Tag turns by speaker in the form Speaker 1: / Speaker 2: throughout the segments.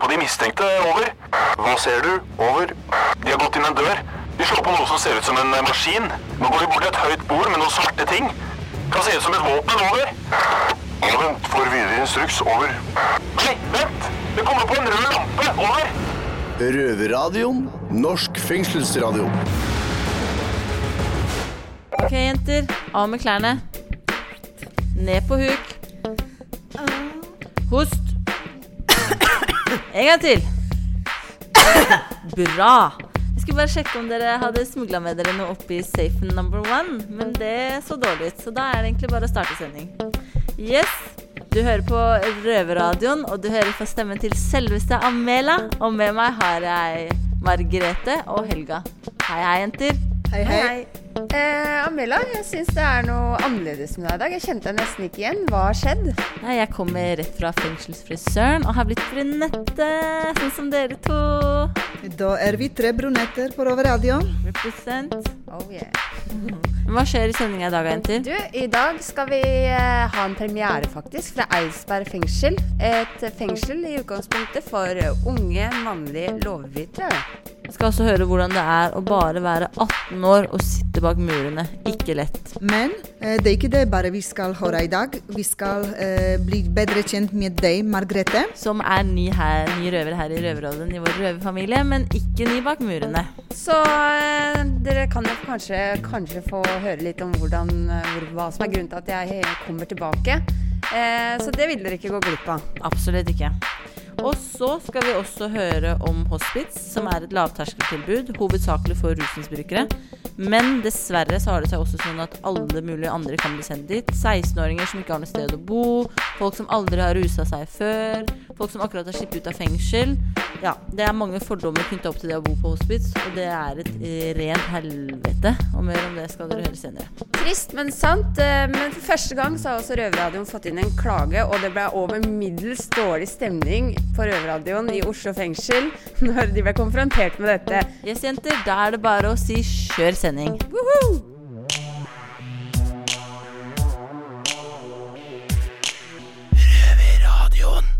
Speaker 1: på de mistenkte. Over. Hva ser du? Over. De har gått inn en dør. De slår på noe som ser ut som en eh, maskin. Nå går de bort til et høyt bord med noen svarte ting. Kan se ut som et våpen. Over. Vent for videre instruks. Over. Nei, vent! Det kommer på en rød lampe. Over.
Speaker 2: Røverradioen. Norsk fengselsradio.
Speaker 3: Ok, jenter. Av med klærne. Ned på huk. Host. En gang til. Bra. Jeg skulle bare sjekke om dere hadde smugla med dere noe oppi safen number one, men det så dårlig ut, så da er det egentlig bare å starte sending. Yes. Du hører på Røverradioen, og du hører på stemmen til selveste Amela. Og med meg har jeg Margrethe og Helga. Hei, hei, jenter.
Speaker 4: Hei, hei. Eh, Amela, jeg syns det er noe annerledes med deg i dag. Jeg kjente deg nesten ikke igjen. Hva har skjedd?
Speaker 3: Nei, jeg kommer rett fra fengselsfrisøren og har blitt brunette, sånn som dere to.
Speaker 5: Da er vi tre brunetter på Røverradioen.
Speaker 3: Represent.
Speaker 4: Oh, yeah.
Speaker 3: Men Hva skjer i sendinga i dag, jenter?
Speaker 4: Du, i dag skal vi eh, ha en premiere, faktisk, fra Eidsberg fengsel. Et fengsel i utgangspunktet for eh, unge, mannlige lovbrytere.
Speaker 3: Vi skal også høre hvordan det er å bare være 18 år og sitte bak murene. Ikke lett.
Speaker 5: Men eh, det er ikke det bare vi skal høre i dag. Vi skal eh, bli bedre kjent med deg, Margrethe.
Speaker 3: Som er ny, her, ny røver her i Røverradioen i vår røverfamilie, men ikke ny bak murene.
Speaker 4: Så eh, dere kan nok kanskje, kanskje få høre litt om hvordan, eh, hvor, hva som er grunnen til at jeg eh, kommer tilbake. Eh, så det vil dere ikke gå glipp av.
Speaker 3: Absolutt ikke. Og så skal vi også høre om hospits, som er et lavterskeltilbud, hovedsakelig for rusmisbrukere. Men dessverre så har det seg også sånn at alle mulige andre kan bli sendt dit. 16-åringer som ikke har noe sted å bo, folk som aldri har rusa seg før, folk som akkurat har sluppet ut av fengsel. Ja, det er mange fordommer knytta opp til det å bo på hospits, og det er et eh, rent helvete. Og mer om det skal dere høre senere.
Speaker 4: Trist, men sant. Eh, Men for første gang så har også Røverradioen fått inn en klage, og det ble over middels dårlig stemning på Røverradioen i Oslo fengsel når de ble konfrontert med dette.
Speaker 3: Yes, jenter, da er det bare å si kjør sending.
Speaker 4: Woohoo!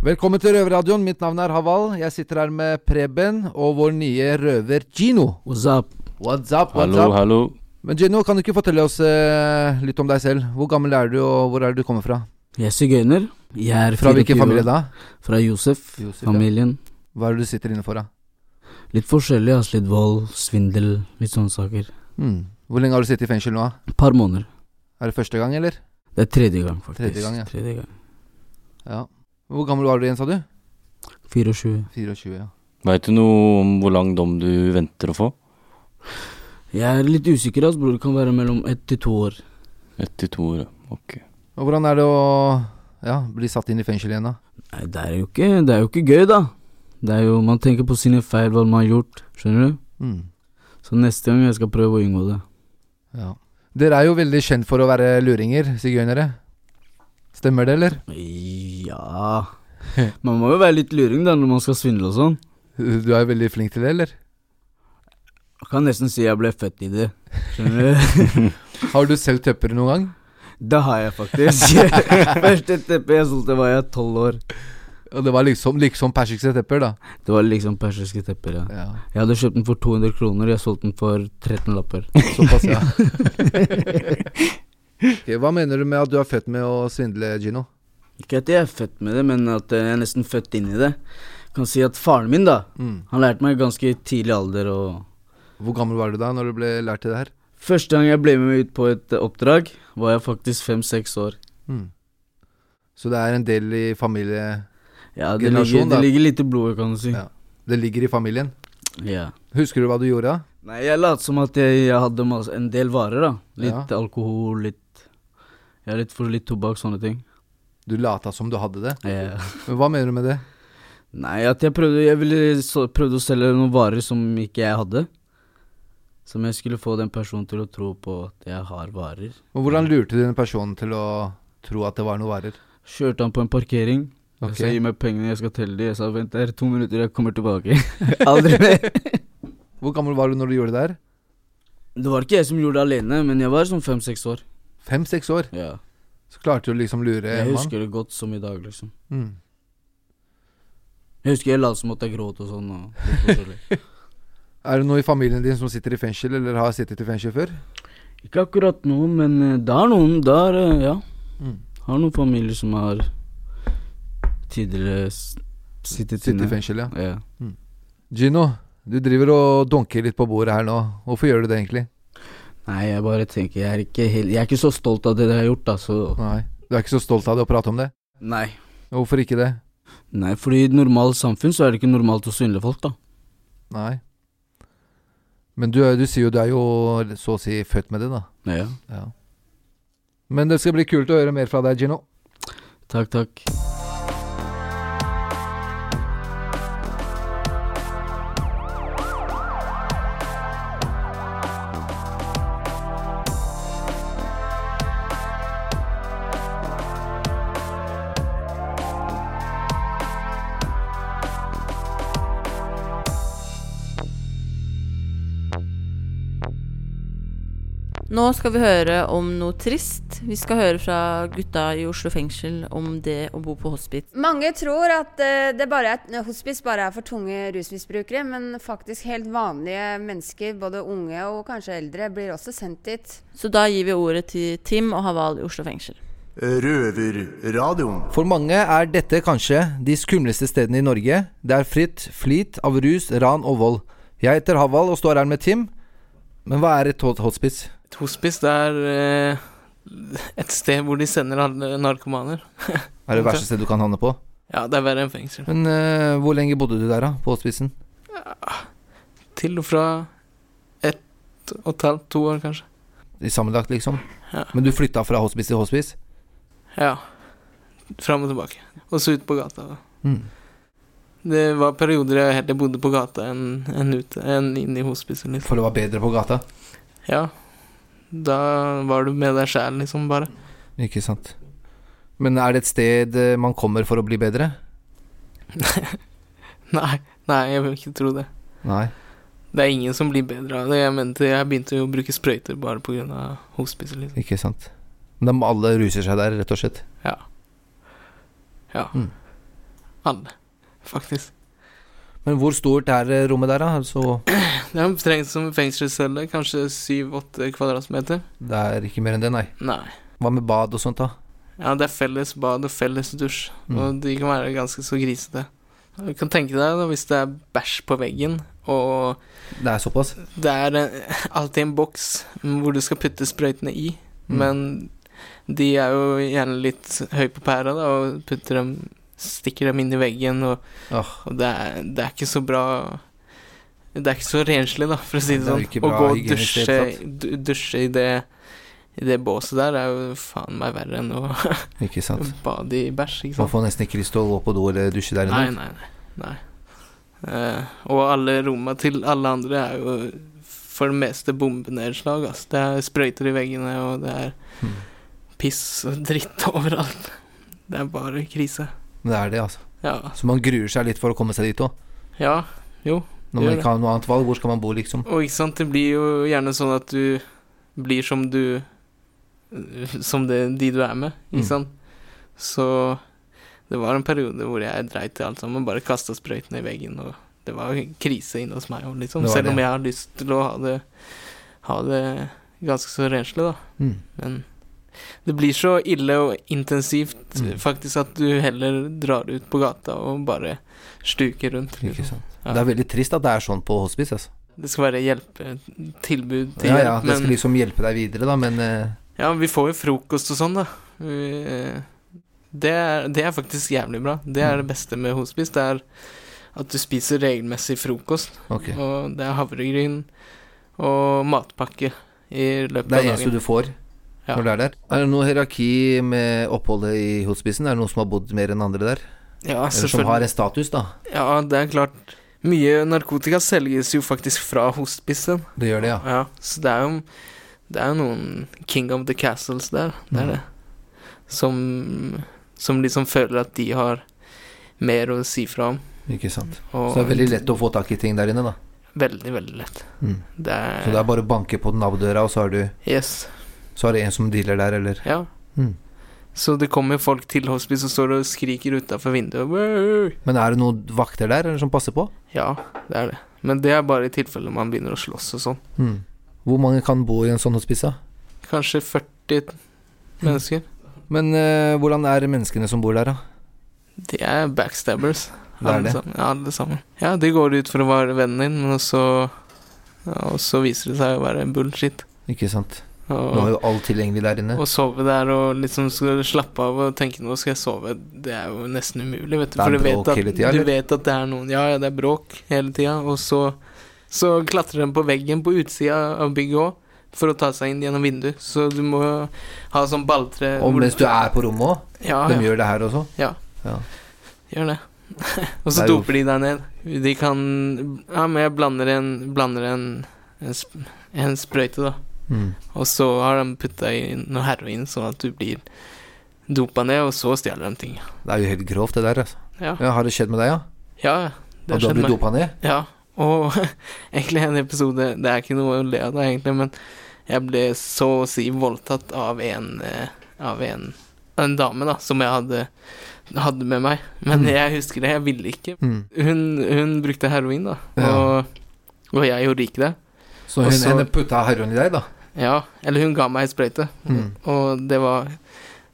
Speaker 6: Velkommen til Røverradioen. Mitt navn er Haval. Jeg sitter her med Preben og vår nye røver Gino.
Speaker 7: What's up?
Speaker 6: What's up? What's
Speaker 7: Hallo,
Speaker 6: up?
Speaker 7: hallo.
Speaker 6: Men Gino, kan du ikke fortelle oss eh, litt om deg selv? Hvor gammel er du, og hvor er det du kommer fra?
Speaker 7: Jeg er sigøyner. Jeg er
Speaker 6: Fra hvilken
Speaker 7: 24
Speaker 6: familie
Speaker 7: år.
Speaker 6: da?
Speaker 7: Fra Josef,
Speaker 6: Josef, ja.
Speaker 7: familien.
Speaker 6: Hva er det du sitter inne for, da?
Speaker 7: Litt forskjellig, altså. Litt vold, svindel, litt sånne saker.
Speaker 6: Hmm. Hvor lenge har du sittet i fengsel nå? da?
Speaker 7: Et par måneder.
Speaker 6: Er det første gang, eller?
Speaker 7: Det er tredje gang, faktisk.
Speaker 6: Tredje gang, ja.
Speaker 7: Tredje gang.
Speaker 6: Ja. Hvor gammel var du igjen, sa du?
Speaker 7: 24.
Speaker 6: 24, ja.
Speaker 8: Veit du noe om hvor lang dom du venter å få?
Speaker 7: Jeg er litt usikker, altså, bror. Det kan være mellom ett til to år.
Speaker 8: Ett til to år, ja. ok.
Speaker 6: Og hvordan er det å ja, bli satt inn i fengsel igjen, da?
Speaker 7: Nei, det er jo ikke, det er jo ikke gøy, da. Det er jo, Man tenker på sine feil, hva man har gjort. Skjønner du?
Speaker 6: Hmm.
Speaker 7: Så neste gang jeg skal prøve å unngå det.
Speaker 6: Ja. Dere er jo veldig kjent for å være luringer, sigøynere. Stemmer det, eller?
Speaker 7: Ja Man må jo være litt luring, da, når man skal svindle og sånn.
Speaker 6: Du er veldig flink til det, eller?
Speaker 7: Jeg kan nesten si jeg ble født i det. Skjønner du?
Speaker 6: Har du selv tøppere noen gang?
Speaker 7: Det har jeg faktisk. Første teppet jeg solgte, var jeg tolv år.
Speaker 6: Og det var liksom, liksom persiske tepper, da.
Speaker 7: Det var liksom persiske tepper, ja.
Speaker 6: Ja,
Speaker 7: Jeg hadde kjøpt den for 200 kroner, jeg solgte den for 13 lapper.
Speaker 6: Såpass, ja. Ok, hva mener du med at du er født med å svindle, Gino?
Speaker 7: Ikke at jeg er født med det, men at jeg er nesten født inn i det. Kan si at faren min, da,
Speaker 6: Mm.
Speaker 7: han lærte meg i ganske tidlig alder og
Speaker 6: Hvor gammel var du da når du ble lært til det her?
Speaker 7: Første gang jeg ble med ut på et eh, oppdrag, var jeg faktisk fem-seks år.
Speaker 6: Mm. Så det er en del i familie
Speaker 7: Ja, det
Speaker 6: Generasjon,
Speaker 7: ligger, det
Speaker 6: da.
Speaker 7: ligger litt i blodet, kan du si.
Speaker 6: Ja. Det ligger i familien.
Speaker 7: ja.
Speaker 6: Husker du hva du gjorde da?
Speaker 7: Nei, jeg lot som at jeg, jeg hadde mas- en del varer, da. Litt
Speaker 6: Ja.
Speaker 7: alkohol, litt Ja, litt for litt tobakk, sånne ting.
Speaker 6: Du lata som du hadde det.
Speaker 7: Eh,
Speaker 6: Men hva mener du med det?
Speaker 7: nei, at jeg prøvde Jeg ville så, prøvde å selge noen varer som ikke jeg hadde. Som jeg skulle få den personen til å tro på at jeg har varer.
Speaker 6: Og hvordan lurte du den personen til å tro at det var noen varer?
Speaker 7: Kjørte han på en parkering.
Speaker 6: Ok.
Speaker 7: Jeg sa gi meg pengene, jeg skal telle de. Jeg sa vent der to minutter, jeg kommer tilbake. Aldri mer.
Speaker 6: Hvor gammel var du når du gjorde det her?
Speaker 7: Det var ikke jeg som gjorde det alene, men jeg var sånn fem-seks år.
Speaker 6: Fem-seks år.
Speaker 7: Ja.
Speaker 6: Så klarte du liksom å lure
Speaker 7: Jeg
Speaker 6: en mann.
Speaker 7: husker det godt som i dag, liksom.
Speaker 6: Mm.
Speaker 7: Jeg Jeg husker jeg la som at jeg gråt og sånn. Og litt forskjellig.
Speaker 6: Er det noe i familien din som sitter i fengsel, eller har sittet i fengsel før?
Speaker 7: Ikke akkurat nå, men eh, det er noen der, eh, ja.
Speaker 6: Mm.
Speaker 7: Har noen familier som har tidligere s- sittet
Speaker 6: Sitter
Speaker 7: inne.
Speaker 6: i fengsel, ja. Mm. Hm.
Speaker 7: Ja.
Speaker 6: Gino, du driver og donker litt på bordet her nå. Hvorfor gjør du det egentlig?
Speaker 7: Nei, jeg bare tenker Jeg er ikke, helt, jeg er ikke så stolt av det jeg har gjort, da, så
Speaker 6: Nei. Du er ikke så stolt av det å prate om det?
Speaker 7: Nei.
Speaker 6: Hvorfor ikke det?
Speaker 7: Nei, fordi i et normalt samfunn så er det ikke normalt å synle folk, da.
Speaker 6: Nei. Men du, er- du sier jo du er jo så å si født med det, da.
Speaker 7: Ja.
Speaker 6: Ja. Men det skal bli kult å høre mer fra deg, Gino.
Speaker 7: Takk, takk.
Speaker 3: Nå skal vi høre om noe trist. Vi skal høre fra gutta i Oslo fengsel om det å bo på hospits.
Speaker 4: Mange tror at eh, det bare er, hospice bare er for tunge rusmisbrukere, men faktisk helt vanlige mennesker, både unge og kanskje eldre, blir også sendt dit.
Speaker 3: Så da gir vi ordet til Tim og Haval i Oslo fengsel.
Speaker 2: Røverradioen.
Speaker 6: For mange er dette kanskje de skumleste stedene i Norge. Det er fritt flyt av rus, ran og vold. Jeg heter Haval og står her med Tim. Men hva er et hot- hospice?
Speaker 9: Et hospice, det er eh, et sted hvor de sender alle narkomaner.
Speaker 6: Er det verste stedet du kan havne på?
Speaker 9: Ja, det er verre enn fengsel.
Speaker 6: Men eh, hvor lenge bodde du der, da? På hospicen?
Speaker 9: Til og fra ett og et halvt, to år, kanskje.
Speaker 6: I sammenlagt, liksom?
Speaker 9: Ja.
Speaker 6: Men du flytta fra hospice til hospice?
Speaker 9: Ja. Fram og tilbake. Og så ut på gata.
Speaker 6: Mm.
Speaker 9: Det var perioder jeg heller bodde på gata enn enn ute, enn inne i hospicet, liksom.
Speaker 6: For det var bedre på gata?
Speaker 9: Ja. Da var du med deg sjæl, liksom, bare.
Speaker 6: Ikke sant. Men er det et sted eh, man kommer for å bli bedre?
Speaker 9: Nei, nei, jeg vil ikke tro det.
Speaker 6: Nei.
Speaker 9: Det er ingen som blir bedre av det. Jeg mente jeg begynte jo å bruke sprøyter bare på grunn av hospicet, liksom.
Speaker 6: Ikke sant. Men de alle ruser seg der, rett og slett.
Speaker 9: Ja. Ja.
Speaker 6: Mm.
Speaker 9: Alle, faktisk.
Speaker 6: Men hvor stort er eh, rommet der, da? Altså,
Speaker 9: Det er strengt som fengselscelle, kanskje syv-åtte kvadratmeter.
Speaker 6: det er ikke mer enn det, nei.
Speaker 9: Nei.
Speaker 6: Hva med bad og sånt, da?
Speaker 9: Ja, det er felles bad og felles dusj,
Speaker 6: Mm.
Speaker 9: og de kan være ganske så grisete. Du kan tenke deg da, hvis det er bæsj på veggen, og
Speaker 6: Det er såpass?
Speaker 9: det er en, alltid en boks hvor du skal putte sprøytene i,
Speaker 6: Mm.
Speaker 9: men de er jo gjerne litt høy på pæra da, og putter dem, stikker dem inn i veggen, og
Speaker 6: Åh,
Speaker 9: Og det er, det er ikke så bra Det er ikke så renslig, da, for å si det,
Speaker 6: Det er jo ikke
Speaker 9: sånn. Å
Speaker 6: bra
Speaker 9: gå og
Speaker 6: hygienisk i det
Speaker 9: dusje,
Speaker 6: hele
Speaker 9: du- dusje i, det, i det båset der er jo faen meg verre enn å
Speaker 6: ikke sant.
Speaker 9: bade i bæsj, ikke
Speaker 6: Man
Speaker 9: sant.
Speaker 6: får nesten ikke lyst til å gå på do eller dusje der
Speaker 9: Nei,
Speaker 6: inne.
Speaker 9: nei, nei. nei. Eh, og alle romma til alle andre er jo for det meste bombenedslag, altså. Det er sprøyter i veggene, og det er
Speaker 6: Mm.
Speaker 9: piss og dritt overalt. Det er bare krise.
Speaker 6: Det er det, altså.
Speaker 9: Ja.
Speaker 6: Så man gruer seg litt for å komme seg dit òg.
Speaker 9: ja.
Speaker 6: Når man
Speaker 9: Gjør det.
Speaker 6: ikke har noe annet valg, hvor skal man bo, liksom?
Speaker 9: Og ikke sant, det blir jo gjerne sånn at du blir som du Som det, de du er med,
Speaker 6: Mm.
Speaker 9: ikke sant. Så det var en periode hvor jeg dreit i alt sammen, bare kasta sprøytene i veggen, og det var en krise inne hos meg òg, liksom.
Speaker 6: Det var
Speaker 9: Selv om
Speaker 6: det.
Speaker 9: jeg har lyst til å ha det, ha det ganske så renslig, da.
Speaker 6: Mm.
Speaker 9: Men det blir så ille og intensivt
Speaker 6: Mm.
Speaker 9: faktisk at du heller drar ut på gata og bare stuker rundt.
Speaker 6: Ikke
Speaker 9: Liksom.
Speaker 6: sant.
Speaker 9: Ja.
Speaker 6: Det er veldig trist at det er sånn på hospice, altså.
Speaker 9: Det skal være hjelpetilbud til
Speaker 6: Ja, ja,
Speaker 9: hjelp,
Speaker 6: det skal liksom hjelpe deg videre, da, men eh,
Speaker 9: Ja, vi får jo frokost og sånn, da. Vi, eh, det, er, det er faktisk jævlig bra. Det
Speaker 6: Mm.
Speaker 9: er det beste med hospice. Det er at du spiser regelmessig frokost.
Speaker 6: ok.
Speaker 9: Og det er havregryn og matpakke i løpet
Speaker 6: Det er
Speaker 9: av
Speaker 6: det eneste
Speaker 9: dagen.
Speaker 6: du får
Speaker 9: Ja.
Speaker 6: når du er der. Er det noe hierarki med oppholdet i hospicen? Er det noen som har bodd mer enn andre der?
Speaker 9: Ja,
Speaker 6: Eller som har
Speaker 9: selvfølgelig.
Speaker 6: en status, da?
Speaker 9: Ja, det er klart. Mye narkotika selges jo faktisk fra hospicen.
Speaker 6: Det gjør det, ja.
Speaker 9: Ja, så det er jo Det er jo noen King of the Castles der, det
Speaker 6: Mm.
Speaker 9: er det. Som, som liksom føler at de har mer å si fra om.
Speaker 6: Ikke sant.
Speaker 9: Og
Speaker 6: Så det er veldig lett å få tak i ting der inne, da.
Speaker 9: Veldig, veldig lett.
Speaker 6: Mm.
Speaker 9: Det er,
Speaker 6: Så det er bare å banke på Nav-døra, og så har du
Speaker 9: Yes.
Speaker 6: Så er det en som dealer der, eller
Speaker 9: Ja.
Speaker 6: Mm.
Speaker 9: Så det kommer folk til hospice og står og skriker utafor vinduet. «Wow!»
Speaker 6: Men er det noen vakter der eller som passer på?
Speaker 9: Ja, det er det. Men det er bare i tilfelle man begynner å slåss og sånn.
Speaker 6: Hmm. Hvor mange kan bo i en sånn hospice? da?
Speaker 9: Kanskje 40 mennesker.
Speaker 6: Men eh, hvordan er menneskene som bor der, da?
Speaker 9: De er backstabbers.
Speaker 6: Det er det.
Speaker 9: Alle sammen. Ja, alle sammen. Ja, de går ut for å være vennen din, men så ja, Og så viser det seg å være bullshit.
Speaker 6: Ikke sant. Nå er
Speaker 9: Og,
Speaker 6: jo alt tilgjengelig der inne.
Speaker 9: å sove der og liksom skal slappe av og tenke nå skal jeg sove, det er jo nesten umulig, vet du.
Speaker 6: Det er
Speaker 9: For du
Speaker 6: bråk
Speaker 9: vet, at,
Speaker 6: hele tida, eller?
Speaker 9: du vet at det er noen Ja, ja, det er bråk hele tida, og så, så klatrer de på veggen på utsida av bygget òg. For å ta seg inn gjennom vinduet, så du må ha sånn balltre
Speaker 6: Og mens du er på rommet òg.
Speaker 9: ja,
Speaker 6: De
Speaker 9: ja.
Speaker 6: gjør det her også.
Speaker 9: Gjør det. og
Speaker 6: Det
Speaker 9: så
Speaker 6: er jo-
Speaker 9: doper de deg ned. De kan Ja, men jeg blander en, blander en, en, sp- en sprøyte, da.
Speaker 6: Mm.
Speaker 9: Og så har de putta i noe heroin, sånn at du blir dopa ned, og så stjeler de ting.
Speaker 6: Det er jo helt grovt, det der. Altså.
Speaker 9: Ja, ja.
Speaker 6: Ja, har det skjedd med deg, ja?
Speaker 9: ja, Det
Speaker 6: Og du har
Speaker 9: skjedde
Speaker 6: blitt
Speaker 9: meg.
Speaker 6: dopa ned?
Speaker 9: Ja. Og egentlig en episode Det er ikke noe å le av, da, egentlig, men jeg ble så å si voldtatt av en eh, Av en, en dame, da, som jeg hadde, hadde med meg. Men jeg husker det, jeg ville ikke.
Speaker 6: Mm.
Speaker 9: hun, hun brukte heroin, da.
Speaker 6: Ja.
Speaker 9: Og, og jeg gjorde ikke det.
Speaker 6: Så
Speaker 9: Og
Speaker 6: hun
Speaker 9: så-
Speaker 6: henne putta heroin i deg, da?
Speaker 9: Ja, eller hun ga meg en sprøyte,
Speaker 6: Mm.
Speaker 9: og det var,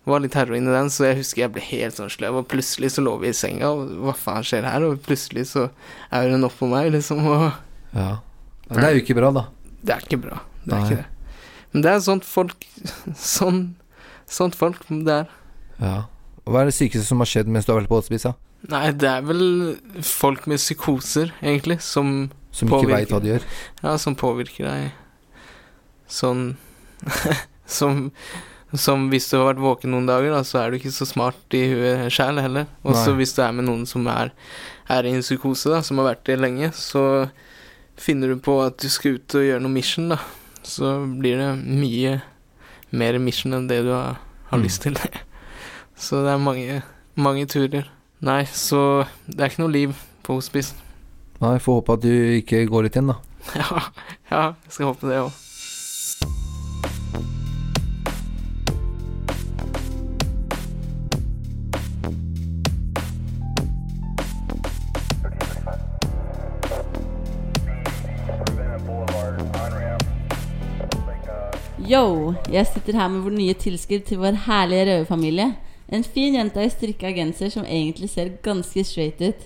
Speaker 9: var litt heroin i den, så jeg husker jeg ble helt sånn sløv, og plutselig så lå vi i senga, og hva faen skjer her? Og plutselig så er hun oppå meg, liksom, og
Speaker 6: Ja. Men det er jo ikke bra, da.
Speaker 9: det er ikke bra. Det er
Speaker 6: Nei.
Speaker 9: ikke det. Men det er sånt folk Sånn sånt folk det er.
Speaker 6: Ja. Hva er det sykeste som har skjedd mens du har vært på hospice? da?
Speaker 9: Nei, det er vel folk med psykoser, egentlig, som
Speaker 6: Som ikke
Speaker 9: Påvirker.
Speaker 6: veit hva de gjør?
Speaker 9: Ja, som påvirker deg sånn som, som hvis du har vært våken noen dager, da, så er du ikke så smart i huet sjæl heller. Og så
Speaker 6: Nei.
Speaker 9: hvis du er med noen som er, er i en psykose, da, som har vært det lenge, så finner du på at du skal ut og gjøre noe mission, da. Så blir det mye mer mission enn det du har, har
Speaker 6: Mm.
Speaker 9: lyst til. Så det er mange, mange turer. Nei, så det er ikke noe liv på hospice.
Speaker 6: Nei, får håpe at du ikke går litt igjen, da.
Speaker 9: Ja, ja jeg skal håpe det òg.
Speaker 3: Yo, jeg sitter her med vårt nye tilskudd til vår herlige røverfamilie. En fin jente i strikka genser som egentlig ser ganske straight ut.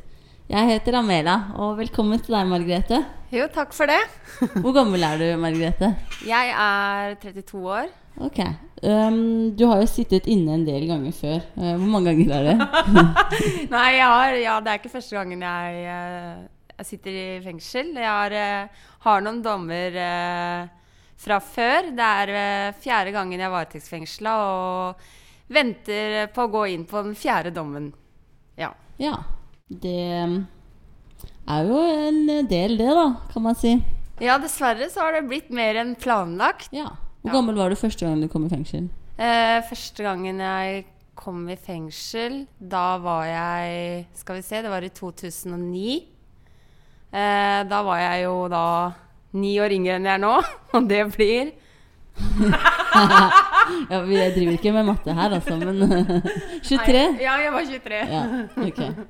Speaker 3: Jeg heter Amela, og velkommen til deg, Margrethe.
Speaker 4: Jo, takk for det.
Speaker 3: Hvor gammel er du, Margrethe?
Speaker 4: Jeg er 32 år.
Speaker 3: Ok. øhm, du har jo sittet inne en del ganger før. Eh, hvor mange ganger er det?
Speaker 4: Nei, jeg har, ja, det er ikke første gangen jeg, eh, jeg sitter i fengsel. Jeg har, eh, har noen dommer eh, fra før. Det er eh, fjerde gangen jeg er varetektsfengsla og venter på å gå inn på den fjerde dommen. Ja.
Speaker 3: Ja. Det øhm, er jo en eh, del, det, da, kan man si.
Speaker 4: ja, dessverre så har det blitt mer enn planlagt.
Speaker 3: Ja. Hvor
Speaker 4: Ja.
Speaker 3: gammel var du første gang du kom i fengsel?
Speaker 4: Eh, første gangen jeg kom i fengsel, da var jeg Skal vi se, det var i 2009. Eh, da var jeg jo da ni år yngre enn jeg er nå, og det blir
Speaker 3: Ja, vi driver ikke med matte her, altså, men 23?
Speaker 4: Ja, jeg var 23. Ja,
Speaker 3: Ja, ok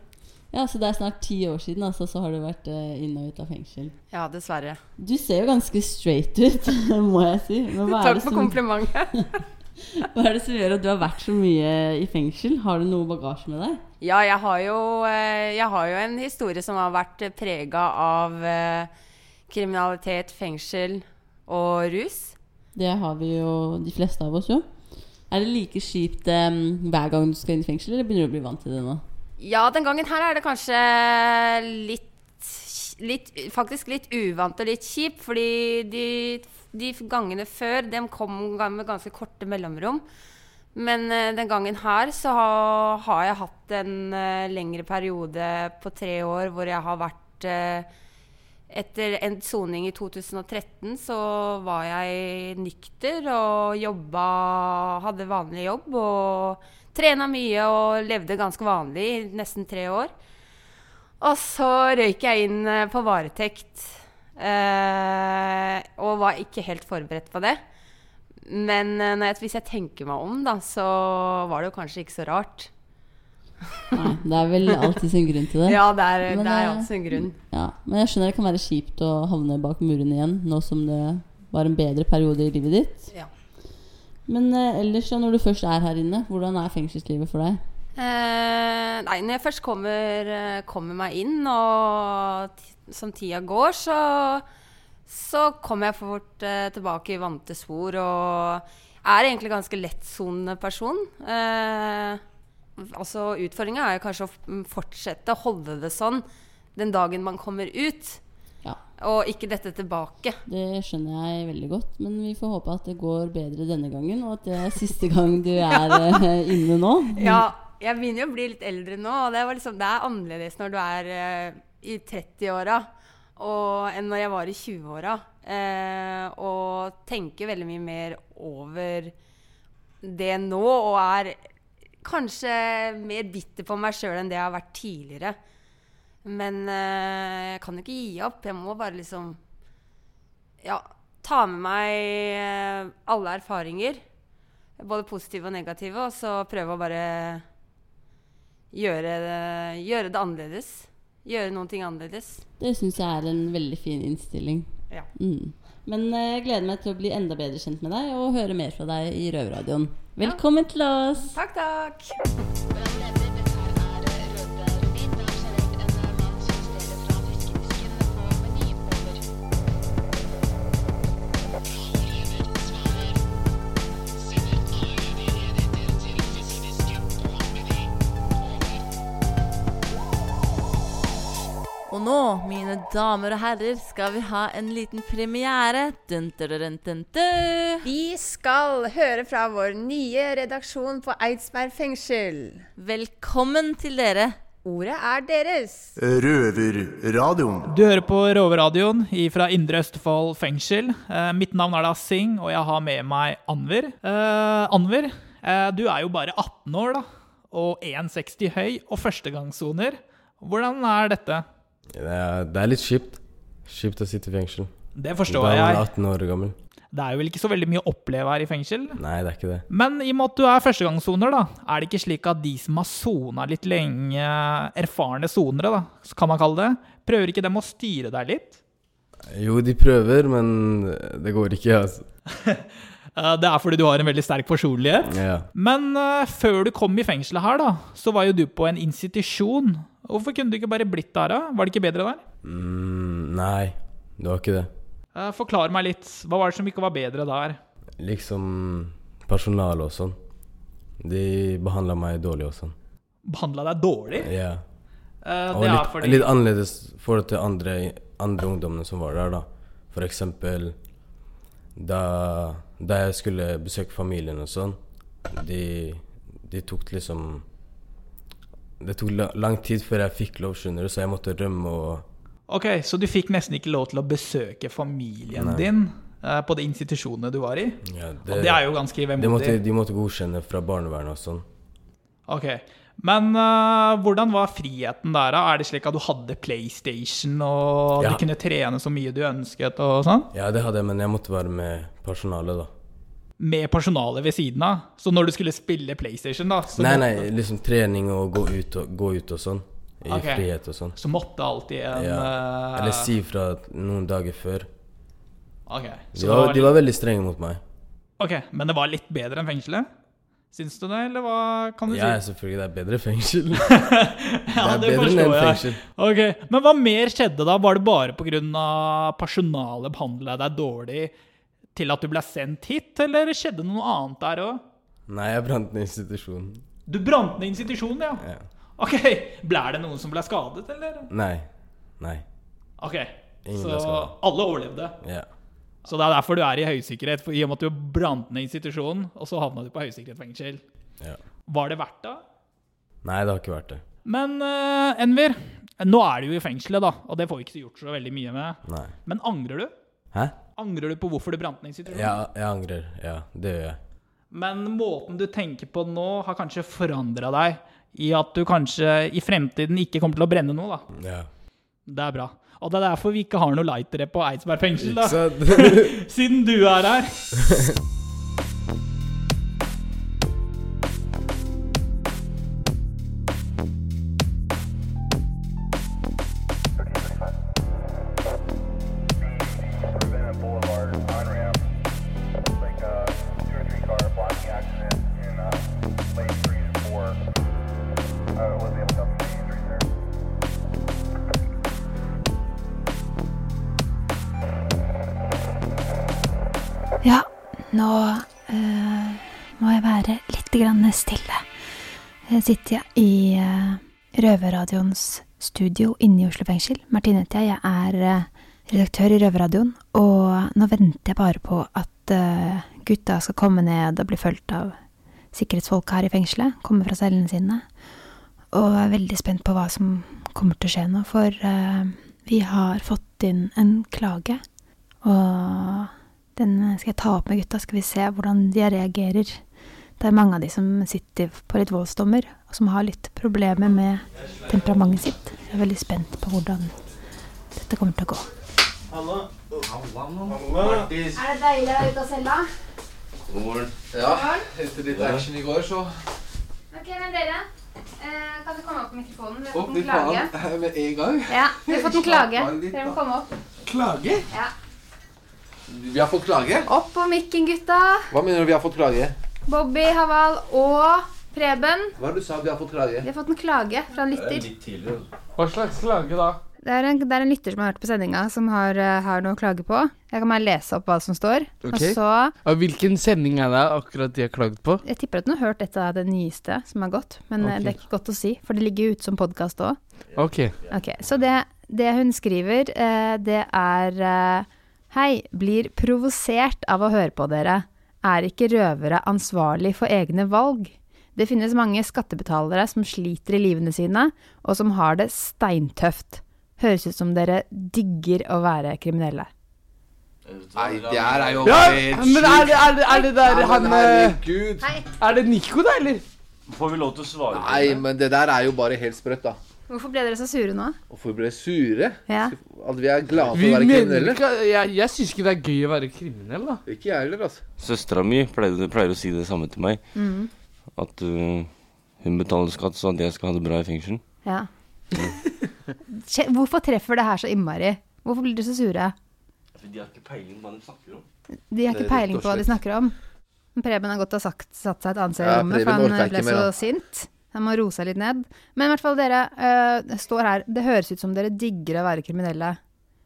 Speaker 3: Ja, så det er snart ti år siden, altså, så har du vært eh, inn og ut av fengsel.
Speaker 4: dessverre.
Speaker 3: Du ser jo ganske straight ut, må jeg si. Men hva er,
Speaker 4: Takk
Speaker 3: det
Speaker 4: for
Speaker 3: som,
Speaker 4: komplimentet.
Speaker 3: hva er det som gjør at du har vært så mye i fengsel? Har du noe bagasje med deg?
Speaker 4: Ja, jeg har jo, eh, jeg har jo en historie som har vært prega av eh, kriminalitet, fengsel og rus.
Speaker 3: Det har vi jo de fleste av oss, jo. Er det like kjipt eh, hver gang du skal inn i fengsel, eller begynner du å bli vant til det nå?
Speaker 4: Ja, den gangen her er det kanskje litt, litt Faktisk litt uvant og litt kjipt, fordi de, de gangene før, dem kom med ganske korte mellomrom. Men eh, den gangen her så ha, har jeg hatt en eh, lengre periode på tre år hvor jeg har vært eh, Etter en soning i 2013 så var jeg nykter og jobba Hadde vanlig jobb og trena mye og levde ganske vanlig i nesten tre år. Og så røyk jeg inn eh, på varetekt eh, og var ikke helt forberedt på det. Men eh, når jeg, hvis jeg tenker meg om, da, så var det jo kanskje ikke så rart.
Speaker 10: Nei, det er vel alltid sin grunn til det.
Speaker 4: Ja, det er,
Speaker 10: Men,
Speaker 4: det er
Speaker 10: eh,
Speaker 4: alltid en grunn.
Speaker 10: Ja, men jeg skjønner det kan være kjipt å havne bak murene igjen, nå som det var en bedre periode i livet ditt.
Speaker 4: Ja.
Speaker 10: Men eh, ellers, da, når du først er her inne, hvordan er fengselslivet for deg?
Speaker 4: Eh, nei, når jeg først kommer, eh, kommer meg inn, og t som tida går, så, så kommer jeg fort eh, tilbake i vante spor. Og er egentlig ganske lettsonende person. Eh, altså Utfordringa er jo kanskje å f- mm, fortsette å holde det sånn den dagen man kommer ut, og ikke dette tilbake.
Speaker 10: Det skjønner jeg veldig godt, men vi får håpe at det går bedre denne gangen, og at det er siste gang du er eh, inne nå.
Speaker 3: Mm.
Speaker 4: Ja, jeg begynner jo å bli litt eldre nå, og det, var liksom, det er annerledes når du er eh, i 30-åra og- enn når jeg var i 20-åra. Eh, og tenker veldig mye mer over det nå, og er kanskje mer bitter på meg sjøl enn det jeg har vært tidligere. Men eh, jeg kan jo ikke gi opp. Jeg må bare liksom ja, ta med meg eh, alle erfaringer. Både positive og negative. Og så prøve å bare gjøre det, gjøre det annerledes. Gjøre noen ting annerledes.
Speaker 10: Det syns jeg er en veldig fin innstilling.
Speaker 4: Ja.
Speaker 10: Mm. Men eh, jeg gleder meg til å bli enda bedre kjent med deg og høre mer fra deg i Røverradioen. Velkommen til oss!
Speaker 4: Takk, takk.
Speaker 3: Og nå, mine damer og herrer, skal vi ha en liten premiere. Dun, dun, dun, dun, dun.
Speaker 11: Vi skal høre fra vår nye redaksjon på Eidsberg fengsel.
Speaker 3: Velkommen til dere.
Speaker 11: Ordet er deres.
Speaker 2: Røverradioen.
Speaker 12: Du hører på Roveradioen fra Indre Østfold fengsel. Eh, mitt navn er da Singh, og jeg har med meg Anver. Eh, Anver, eh, du er jo bare 18 år, da. Og 1,60 høy og førstegangssoner. Hvordan er dette?
Speaker 13: Det er, det er litt kjipt. Kjipt å sitte i fengsel.
Speaker 12: Det forstår
Speaker 13: da Da
Speaker 12: jeg.
Speaker 13: man er 18 år gammel.
Speaker 12: Det er jo vel ikke så veldig mye å oppleve her i fengsel?
Speaker 13: Nei, det er ikke det.
Speaker 12: Men i og med at du er førstegangssoner, da, er det ikke slik at de som har sona litt lenge, erfarne sonere, da, kan man kalle det, prøver ikke dem å styre deg litt?
Speaker 13: Jo, de prøver, men det går ikke, altså.
Speaker 12: Eh, Det er fordi du har en veldig sterk personlighet.
Speaker 13: Ja.
Speaker 12: Men eh, før du kom i fengselet her, da, så var jo du på en institusjon. Hvorfor kunne du ikke bare blitt der, da? Var det ikke bedre der?
Speaker 13: Mm, nei, det var ikke det.
Speaker 12: Eh, Forklar meg litt. Hva var det som ikke var bedre der?
Speaker 13: Liksom personalet og sånn. De behandla meg dårlig og sånn.
Speaker 12: Behandla deg dårlig?
Speaker 13: Ja.
Speaker 12: Eh, Det
Speaker 13: Og litt,
Speaker 12: er fordi
Speaker 13: litt annerledes i forhold til andre, andre ungdommene som var der, da. For eksempel da, da jeg skulle besøke familien og sånn, de, de tok liksom Det tok la, lang tid før jeg fikk lov, skjønner du, så jeg måtte rømme og
Speaker 12: Ok, så du fikk nesten ikke lov til å besøke familien
Speaker 13: Nei.
Speaker 12: din eh, på de institusjonene du var i?
Speaker 13: ja,
Speaker 12: Og det er jo ganske
Speaker 13: De måtte,
Speaker 12: vemodig.
Speaker 13: de måtte godkjenne fra barnevernet og sånn.
Speaker 12: Ok, men eh, hvordan var friheten der, da? Er det slik at du hadde PlayStation, og
Speaker 13: Ja.
Speaker 12: du kunne trene så mye du ønsket, og sånn?
Speaker 13: Ja, det hadde jeg, men jeg måtte være med personalet, da.
Speaker 12: med personalet ved siden av. Så når du skulle spille PlayStation, da, så,
Speaker 13: nei, nei,
Speaker 12: måtte,
Speaker 13: liksom trening og gå ut og, gå ut og sånn. I
Speaker 12: Ok.
Speaker 13: frihet og sånn.
Speaker 12: så måtte alltid en
Speaker 13: Ja.
Speaker 12: eh,
Speaker 13: Eller si fra noen dager før.
Speaker 12: Ok, så
Speaker 13: De
Speaker 12: det
Speaker 13: var,
Speaker 12: var
Speaker 13: de var veldig strenge mot meg.
Speaker 12: Ok, men det var litt bedre enn fengselet? Syns du det, eller hva kan du
Speaker 13: Ja,
Speaker 12: si?
Speaker 13: selvfølgelig. Det er bedre fengsel. det er bedre enn en fengsel.
Speaker 12: Ok, Men hva mer skjedde da? Var det bare pga. personalet behandla deg dårlig til at du ble sendt hit, eller skjedde noe annet der òg?
Speaker 13: Nei, jeg brant ned institusjonen.
Speaker 12: Du brant ned institusjonen, ja?
Speaker 13: Ja.
Speaker 12: Ok, Ble det noen som ble skadet, eller?
Speaker 13: Nei. Nei.
Speaker 12: Ok,
Speaker 13: Ingen ble
Speaker 12: så
Speaker 13: skadet.
Speaker 12: alle overlevde?
Speaker 13: Ja.
Speaker 12: Så det er derfor du er i høysikkerhet, for i og med at du brant ned institusjonen, og så havna du på høysikkerhetsfengsel.
Speaker 13: Ja.
Speaker 12: Var det verdt det?
Speaker 13: Nei, det har ikke vært det.
Speaker 12: Men eh, Enver, nå er du jo i fengselet, da, og det får vi ikke gjort så veldig mye med.
Speaker 13: Nei.
Speaker 12: Men angrer du?
Speaker 13: Hæ?
Speaker 12: Angrer du på hvorfor du brant ned institusjonen?
Speaker 13: Ja, jeg angrer. Ja, det gjør jeg.
Speaker 12: Men måten du tenker på nå, har kanskje forandra deg i at du kanskje i fremtiden ikke kommer til å brenne noe, da.
Speaker 13: Ja.
Speaker 12: Det er bra. Og det er derfor vi ikke har noe lightere på Eidsberg fengsel, da.
Speaker 13: Ikke sant?
Speaker 12: Siden du er her.
Speaker 14: Nå eh, må jeg være litt grann stille. Her sitter jeg i eh, Røverradioens studio inne i Oslo fengsel. Martine heter jeg. Jeg er eh, redaktør i Røverradioen. Og nå venter jeg bare på at eh, gutta skal komme ned og bli fulgt av sikkerhetsfolk her i fengselet. Komme fra cellene sine. Og er veldig spent på hva som kommer til å skje nå, for eh, vi har fått inn en klage. Og den skal jeg ta opp med gutta, skal vi se hvordan de reagerer. Det er mange av de som sitter på litt voldsdommer, og som har litt problemer med temperamentet sitt. Jeg er veldig spent på hvordan dette kommer til å gå.
Speaker 11: Halla.
Speaker 7: det deilig å være ute av cella?
Speaker 11: God morgen.
Speaker 6: Ja, etter litt action i går, så
Speaker 7: Ok, men dere, eh, kan du komme opp på mikrofonen? Vi har
Speaker 6: Å,
Speaker 7: fått
Speaker 6: fy
Speaker 7: en klage.
Speaker 6: faen. Med en gang.
Speaker 7: Ja, vi har fått en klage. Dere må komme opp.
Speaker 6: Klage?
Speaker 7: Ja.
Speaker 6: Vi har fått klage?
Speaker 7: Opp på mikken, gutta.
Speaker 6: Hva mener du vi har fått klage?
Speaker 7: Bobby, Haval og Preben.
Speaker 6: Hva er det du sa vi har fått klage?
Speaker 7: Vi har fått en klage fra en lytter.
Speaker 6: Hva slags klage da?
Speaker 7: Det er en, det er en lytter som har hørt på sendinga, som har, eh, har noe å klage på. Jeg kan bare lese opp hva som står.
Speaker 15: Ok.
Speaker 7: Og så
Speaker 15: Og hvilken sending er det akkurat de har klagd på?
Speaker 14: Jeg tipper at hun har hørt et av det nyeste som er gått, men eh,
Speaker 15: Ok.
Speaker 14: det er ikke godt å si, for det ligger jo ute som podkast òg.
Speaker 15: Ok.
Speaker 14: Ok, Så det, det hun skriver, eh, det er eh, Hei, blir provosert av å høre på dere. Er ikke røvere ansvarlig for egne valg? Det finnes mange skattebetalere som sliter i livene sine, og som har det steintøft. Høres ut som dere digger å være kriminelle.
Speaker 6: Nei, det her er jo
Speaker 15: Ja,
Speaker 6: helt
Speaker 15: men er det, er det, er det der
Speaker 6: Ja, men
Speaker 15: han eh,
Speaker 6: herregud.
Speaker 15: Er det Nico, da, eller?
Speaker 6: Får vi lov til å svare Nei, men det der er jo bare helt sprøtt, da.
Speaker 14: Hvorfor ble dere så sure nå?
Speaker 6: Hvorfor ble vi sure?
Speaker 14: Ja.
Speaker 6: At vi er glade for
Speaker 15: Vi
Speaker 6: å være
Speaker 15: mener
Speaker 6: kriminelle?
Speaker 15: ikke Jeg, jeg syns ikke det er gøy å være kriminell, da.
Speaker 6: Ikke jeg heller, altså.
Speaker 8: Søstera mi pleier, pleier å si det samme til meg.
Speaker 14: Mhm.
Speaker 8: At uh, hun betaler skatt, så at jeg skal ha det bra i fengsel.
Speaker 14: Ja. Kje- Hvorfor treffer det her så innmari? Hvorfor blir dere så sure?
Speaker 8: De har ikke peiling på hva de snakker om.
Speaker 14: De har ikke peiling på hva de snakker om. Men Preben har godt ha sagt, satt seg et annet sted i
Speaker 8: Ja,
Speaker 14: rommet,
Speaker 8: Preben
Speaker 14: for han
Speaker 8: orker
Speaker 14: eh,
Speaker 8: ikke
Speaker 14: ble
Speaker 8: mer,
Speaker 14: så
Speaker 8: han.
Speaker 14: sint. Han må roe seg litt ned. Men i hvert fall, dere eh, står her. Det høres ut som dere digger å være kriminelle.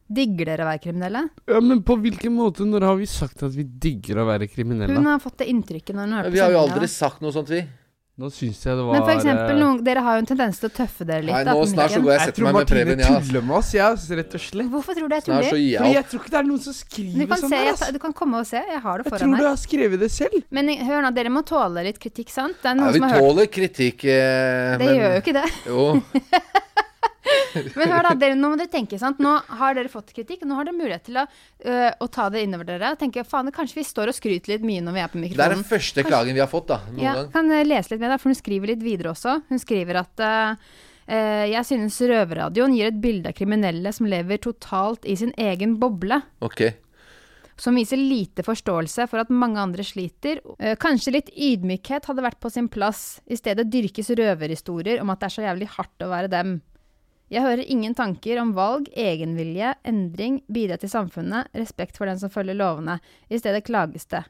Speaker 14: Digger dere å være kriminelle?
Speaker 15: Ja, Men på hvilken måte? Når har vi sagt at vi digger å være kriminelle?
Speaker 14: Hun har fått det inntrykket når hun hørte
Speaker 6: Vi har jo
Speaker 14: sendingen.
Speaker 6: aldri sagt noe sånt, vi.
Speaker 15: Nå syns jeg det var
Speaker 14: Men for
Speaker 15: eh,
Speaker 14: eksempel, noen, dere har jo en tendens til å tøffe dere litt.
Speaker 6: Nei,
Speaker 14: da, på
Speaker 6: nå snart så
Speaker 14: middagen.
Speaker 6: går jeg og setter meg med Preben, jeg.
Speaker 15: Martine
Speaker 6: altså.
Speaker 15: tuller med oss, jeg, altså, rett og slett.
Speaker 14: Hvorfor tror du jeg
Speaker 15: Snart
Speaker 14: tuller?
Speaker 15: så gir jeg Fordi opp. jeg tror ikke det er noen som
Speaker 14: Du
Speaker 15: skriver
Speaker 14: kan,
Speaker 15: sånn
Speaker 14: se,
Speaker 15: der,
Speaker 14: jeg,
Speaker 15: altså.
Speaker 14: ta- du kan komme og se. Jeg har det
Speaker 15: Jeg
Speaker 14: foran
Speaker 15: tror du
Speaker 14: her.
Speaker 15: har skrevet det selv.
Speaker 14: Men i- hør nå, dere må tåle litt kritikk, sant? Det er
Speaker 6: Ja,
Speaker 14: noen
Speaker 6: vi
Speaker 14: som har hørt
Speaker 6: tåler kritikk, eh,
Speaker 14: Det gjør jo ikke det.
Speaker 6: Jo.
Speaker 14: Men hør da, dere, nå må dere tenke, sant? Nå har dere fått kritikk, nå har dere mulighet til å, øh, å ta det innover dere. og Tenke, faen, kanskje vi står og skryter litt mye når vi er på
Speaker 6: Det er
Speaker 14: mikrofonen.
Speaker 6: den første klagen vi har fått, da. Noen
Speaker 14: ja,
Speaker 6: gang.
Speaker 14: Kan jeg lese litt med deg, for hun skriver litt videre også. Hun skriver at øh, øh, jeg synes røverradioen gir et bilde av kriminelle som lever totalt i sin egen boble
Speaker 6: Ok.
Speaker 14: som viser lite forståelse for at mange andre sliter. Eh, Kanskje litt ydmykhet hadde vært på sin plass. I stedet dyrkes røverhistorier om at det er så jævlig hardt å være dem. Jeg hører ingen tanker om valg, egenvilje, endring, bidra til samfunnet, respekt for den som følger lovene. I stedet klages det.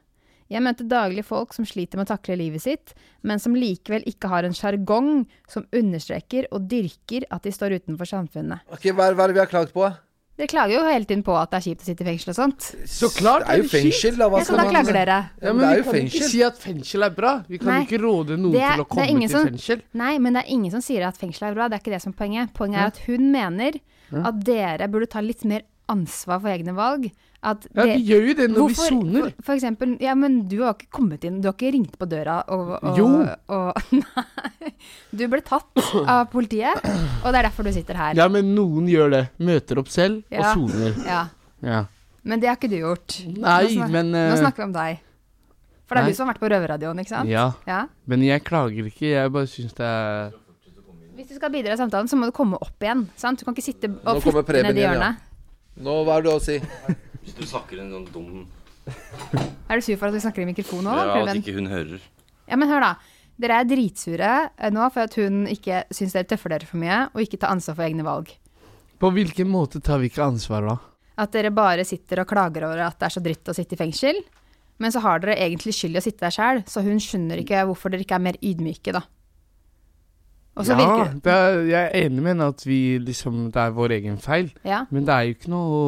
Speaker 14: Jeg møter daglig folk som sliter med å takle livet sitt, men som likevel ikke har en sjargong som understreker og dyrker at de står utenfor samfunnet.
Speaker 6: Ok, Hva er hva er det vi har klagd på?
Speaker 14: Dere klager jo hele tiden på at det er kjipt å sitte i fengsel og sånt.
Speaker 15: Så klart
Speaker 6: Det er jo er det kjipt. fengsel, da, hva
Speaker 14: Ja, så
Speaker 6: skal
Speaker 14: da
Speaker 6: man-
Speaker 14: klager dere.
Speaker 15: Ja, men,
Speaker 6: det er
Speaker 15: vi
Speaker 6: jo
Speaker 15: kan
Speaker 6: fengsel.
Speaker 15: ikke si at fengsel er bra. Vi kan
Speaker 14: Nei,
Speaker 15: ikke råde noen
Speaker 14: det er- det er
Speaker 15: til å komme
Speaker 14: ingen
Speaker 15: til
Speaker 14: som-
Speaker 15: fengsel.
Speaker 14: Nei, men det er ingen som sier at fengsel er bra. Det er ikke det som er poenget. Poenget er at hun mener
Speaker 15: Ja.
Speaker 14: at dere burde ta litt mer ansvar for egne valg. At
Speaker 15: Ja,
Speaker 14: det-
Speaker 15: vi gjør jo det når vi
Speaker 14: Hvorfor-
Speaker 15: soner.
Speaker 14: For, for eksempel, ja, men du har ikke kommet inn, du har ikke ringt på døra og, og
Speaker 15: Jo.
Speaker 14: Og, nei. Du ble tatt av politiet, og det er derfor du sitter her.
Speaker 15: Ja, men noen gjør det. Møter opp selv
Speaker 14: Ja.
Speaker 15: og soner.
Speaker 14: Ja.
Speaker 15: Ja.
Speaker 14: Men det har ikke du gjort.
Speaker 15: Nei,
Speaker 14: nå snak-
Speaker 15: men, eh,
Speaker 14: Nå snakker vi om deg. For det er
Speaker 15: nei.
Speaker 14: du som har vært på røverradioen, ikke sant?
Speaker 15: Ja.
Speaker 14: ja.
Speaker 15: Men jeg klager ikke, jeg bare syns det er
Speaker 14: Hvis du skal bidra i samtalen, så må du komme opp igjen. Sant? Du kan ikke sitte
Speaker 6: Nå
Speaker 14: og
Speaker 6: kommer
Speaker 14: flytte
Speaker 6: Preben
Speaker 14: ned i
Speaker 6: igjen,
Speaker 14: hjørnet.
Speaker 6: ja. Nå, hva er det du har å si?
Speaker 8: Hvis du snakker en sånn dum
Speaker 14: Er du sur for at vi snakker i mikrofon nå, da,
Speaker 8: Ja, at
Speaker 14: Preben?
Speaker 8: ikke hun hører.
Speaker 14: Ja, men hør da. Dere er dritsure eh, nå for at hun ikke syns dere tøffer dere for mye, og ikke tar ansvar for egne valg.
Speaker 15: På hvilken måte tar vi ikke ansvar da?
Speaker 14: At dere bare sitter og klager over at det er så dritt å sitte i fengsel. Men så har dere egentlig skyld i å sitte der sjæl, så hun skjønner ikke hvorfor dere ikke er mer ydmyke, da. Og så
Speaker 15: ja,
Speaker 14: virker det
Speaker 15: det er, jeg er enig med henne at vi liksom Det er vår egen feil.
Speaker 14: Ja.
Speaker 15: Men det er jo ikke noe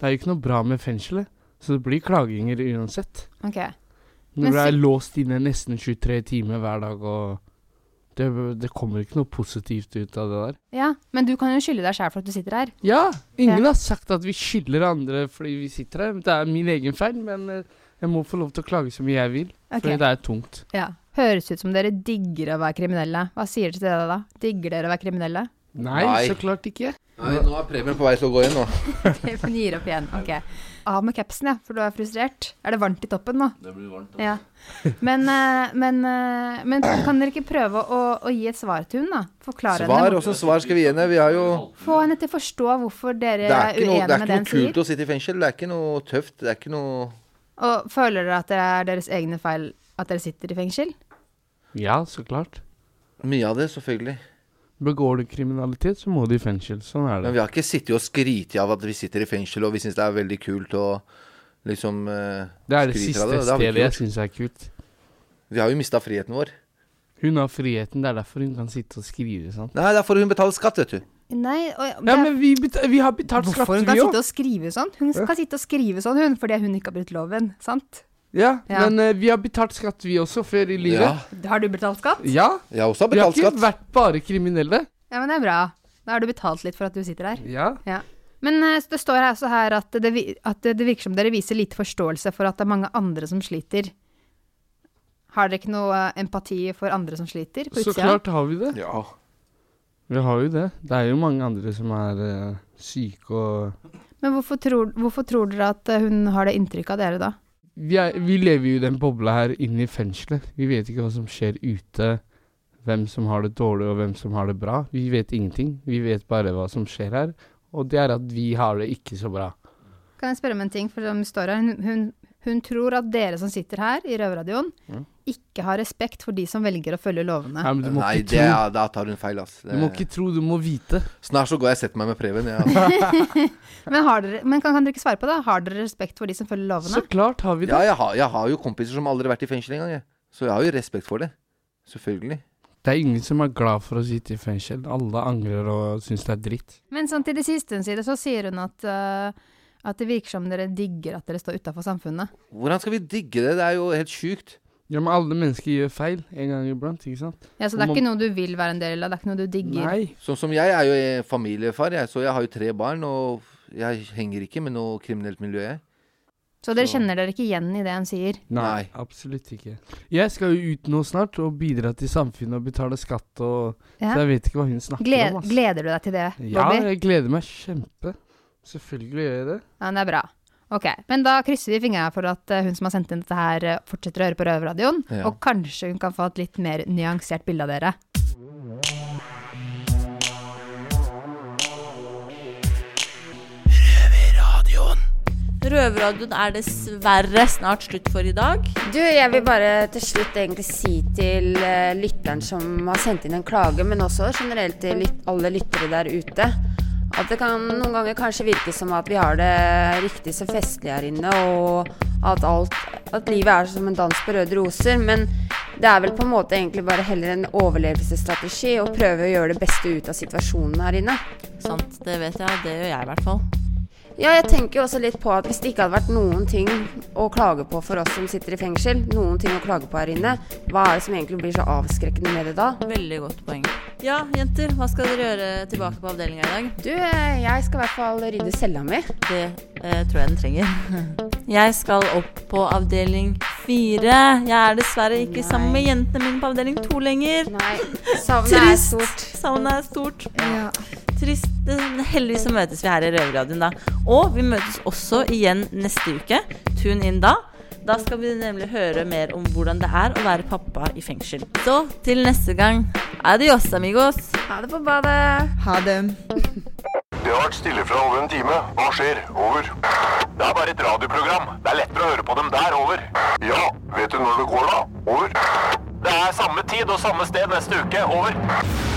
Speaker 15: Det er jo ikke noe bra med fengselet. Så det blir klaginger uansett.
Speaker 14: Ok. Men
Speaker 15: Når du er
Speaker 14: si-
Speaker 15: låst inne nesten 23 timer hver dag og det, det kommer ikke noe positivt ut av det der.
Speaker 14: Ja, men du kan jo skylde deg sjæl for at du sitter her.
Speaker 15: Ja, Ingen
Speaker 14: Ja.
Speaker 15: har sagt at vi skylder andre fordi vi sitter her. Det er min egen feil, men eh, jeg må få lov til å klage så mye jeg vil.
Speaker 14: Ok.
Speaker 15: Fordi det er tungt.
Speaker 14: Ja. Høres ut som dere digger å være kriminelle. Hva sier dere til det da? Digger dere å være kriminelle?
Speaker 15: Nei,
Speaker 6: Nei.
Speaker 15: så klart ikke.
Speaker 6: Nei, nå er premien på vei til å gå inn nå.
Speaker 14: Hun gir opp igjen. Ok. Av med capsen, ja, for du er frustrert. Er det varmt i toppen nå?
Speaker 6: Det blir varmt,
Speaker 14: Ja. Men, eh, men, eh, men kan dere ikke prøve å, å gi et svar til hun da? Forklare
Speaker 6: Svar,
Speaker 14: henne.
Speaker 6: åssen svar skal vi gi henne? Vi har jo
Speaker 14: Få henne til å forstå hvorfor dere
Speaker 6: Det
Speaker 14: er,
Speaker 6: er ikke noe, det
Speaker 14: uenige
Speaker 6: er
Speaker 14: med det
Speaker 6: ikke noe
Speaker 14: hun sier.
Speaker 6: kult å sitte i fengsel. Det er ikke noe tøft. Det er ikke noe
Speaker 14: Og føler dere at det er deres egne feil at dere sitter i fengsel?
Speaker 15: Ja, så klart.
Speaker 6: Mye av det, selvfølgelig.
Speaker 15: Begår du kriminalitet, så må du i fengsel. Sånn er
Speaker 6: Men
Speaker 15: det.
Speaker 6: vi har ikke sittet og skritt av at vi sitter i fengsel, og vi syns det er veldig kult og liksom eh,
Speaker 15: Det er det
Speaker 6: skryter
Speaker 15: siste
Speaker 6: av har
Speaker 15: stedet
Speaker 6: vi ikke
Speaker 15: jeg
Speaker 6: gjort.
Speaker 15: syns er kult.
Speaker 6: Vi har jo mista friheten vår.
Speaker 15: Hun har friheten, det er derfor hun kan sitte og skrive sånn.
Speaker 6: Nei, det er for hun betaler skatt, vet du.
Speaker 14: Nei, og,
Speaker 15: Ja, men vi, beta- vi har betalt skatt,
Speaker 14: Hvorfor hun kan
Speaker 15: vi
Speaker 14: sitte
Speaker 15: òg.
Speaker 14: og skrive sånn? Hun kan sitte og skrive sånn, hun, fordi hun ikke har brutt loven, sant?
Speaker 15: Ja,
Speaker 14: Ja.
Speaker 15: men eh, vi har betalt skatt, vi også, før i livet.
Speaker 14: Har du betalt skatt?
Speaker 15: Ja.
Speaker 6: Jeg også har
Speaker 15: Vi har
Speaker 6: betalt
Speaker 15: ikke
Speaker 6: skatt.
Speaker 15: vært bare kriminelle.
Speaker 14: Ja, men det er bra. Da har du betalt litt for at du sitter der.
Speaker 15: Ja.
Speaker 14: Ja. Men eh, det står her også her at det, vi- at det virker som dere viser lite forståelse for at det er mange andre som sliter. Har dere ikke noe eh, empati for andre som sliter? På
Speaker 15: Så
Speaker 14: utsida?
Speaker 15: klart har vi det. Vi har jo det. Det er jo mange andre som er eh, syke og
Speaker 14: Men hvorfor tror, hvorfor tror dere at eh, hun har det inntrykket av dere da?
Speaker 15: vi, er, vi lever jo i den bobla her inne i fengselet. Vi vet ikke hva som skjer ute. Hvem som har det dårlig, og hvem som har det bra. Vi vet ingenting. Vi vet bare hva som skjer her. Og det er at vi har det ikke så bra.
Speaker 14: Kan jeg spørre om en ting? For som det står her, hun, hun, hun tror at dere som sitter her i Røverradioen,
Speaker 15: Ja.
Speaker 14: ikke har respekt for de som velger å følge lovene.
Speaker 15: Nei, men du må
Speaker 6: Nei,
Speaker 15: ikke
Speaker 6: det
Speaker 15: tro.
Speaker 6: er, da tar hun feil, ass.
Speaker 15: Du må ikke tro, du må vite.
Speaker 6: Snart så går jeg og setter meg med Preben. Ja.
Speaker 14: men har dere, men kan, kan dere ikke svare på det? Har dere respekt for de som følger lovene?
Speaker 15: klart har vi
Speaker 6: det. Ja, jeg har, jeg har jo kompiser som aldri har vært i fengsel engang, jeg. Så jeg har jo respekt for det. Selvfølgelig.
Speaker 15: Det er ingen som er glad for å sitte i fengsel. Alle angrer og syns det er dritt.
Speaker 14: Men sånn til det siste hun sier det, så sier hun at, eh, at det virker som dere digger at dere står utafor samfunnet.
Speaker 6: Hvordan skal vi digge det? Det er jo helt sjukt.
Speaker 15: Ja, men alle mennesker gjør feil en gang iblant, ikke sant?
Speaker 14: Ja, Så det er ikke noe du vil være en del av, det er ikke noe du digger.
Speaker 6: Sånn som jeg er jo eh, familiefar, jeg, så jeg har jo tre barn, og jeg henger ikke med noe kriminelt miljø, jeg.
Speaker 14: Så dere kjenner dere ikke igjen i det hun sier?
Speaker 15: Nei, absolutt ikke. Jeg skal jo ut nå snart og bidra til samfunnet og betale skatt og
Speaker 14: Ja.
Speaker 15: Så jeg vet ikke hva hun snakker
Speaker 14: Gled,
Speaker 15: om. altså. ass.
Speaker 14: gleder du deg til det,
Speaker 15: Ja,
Speaker 14: Bobby?
Speaker 15: jeg gleder meg kjempe. Selvfølgelig gjør jeg det.
Speaker 14: Ja, men det er bra. Ok, Men da krysser vi fingrene for at eh, hun som har sendt inn dette her, eh, fortsetter å høre på Røverradioen.
Speaker 15: Ja.
Speaker 14: Og kanskje hun kan få et litt mer nyansert bilde av dere.
Speaker 3: Røverradioen er dessverre snart slutt for i dag.
Speaker 4: Du, jeg vil bare til slutt egentlig si til eh, lytteren som har sendt inn en klage, men også generelt til lyt alle lyttere der ute, at det kan noen ganger kanskje virke som at vi har det riktig så festlig her inne, og at, alt, at livet er som en dans på røde roser, men det er vel på en måte egentlig bare heller en overlevelsesstrategi å prøve å gjøre det beste ut av situasjonen her inne.
Speaker 3: Sant, det vet jeg. Det gjør jeg i hvert fall.
Speaker 4: Ja, jeg tenker jo også litt på at hvis det ikke hadde vært noen ting å klage på for oss som sitter i fengsel, noen ting å klage på her inne, hva er det som egentlig blir så avskrekkende med det da?
Speaker 3: Veldig godt poeng. Ja, jenter, hva skal dere gjøre tilbake på avdelinga i dag?
Speaker 4: Du, eh, jeg skal i hvert fall rydde cella mi.
Speaker 3: Det eh, tror jeg den trenger. Jeg skal opp på avdeling fire. Jeg er dessverre ikke sammen med jentene mine på avdeling to lenger.
Speaker 4: Nei, savnet er
Speaker 3: stort. Savnet er stort. Trist. Men Heldigvis så møtes vi her i Røverradioen da. Og vi møtes også igjen neste uke. Tune inn da. Da skal vi nemlig høre mer om hvordan det er å være pappa i fengsel. Så til neste gang. Adios, amigos.
Speaker 4: Ha det på badet.
Speaker 16: Ha det.
Speaker 1: Det har vært stille fra over en time. Hva skjer? Over. Det er bare et radioprogram. Det er lettere å høre på dem der. Over. Ja, vet du når det går, da? Over. Det er samme tid og samme sted neste uke. Over.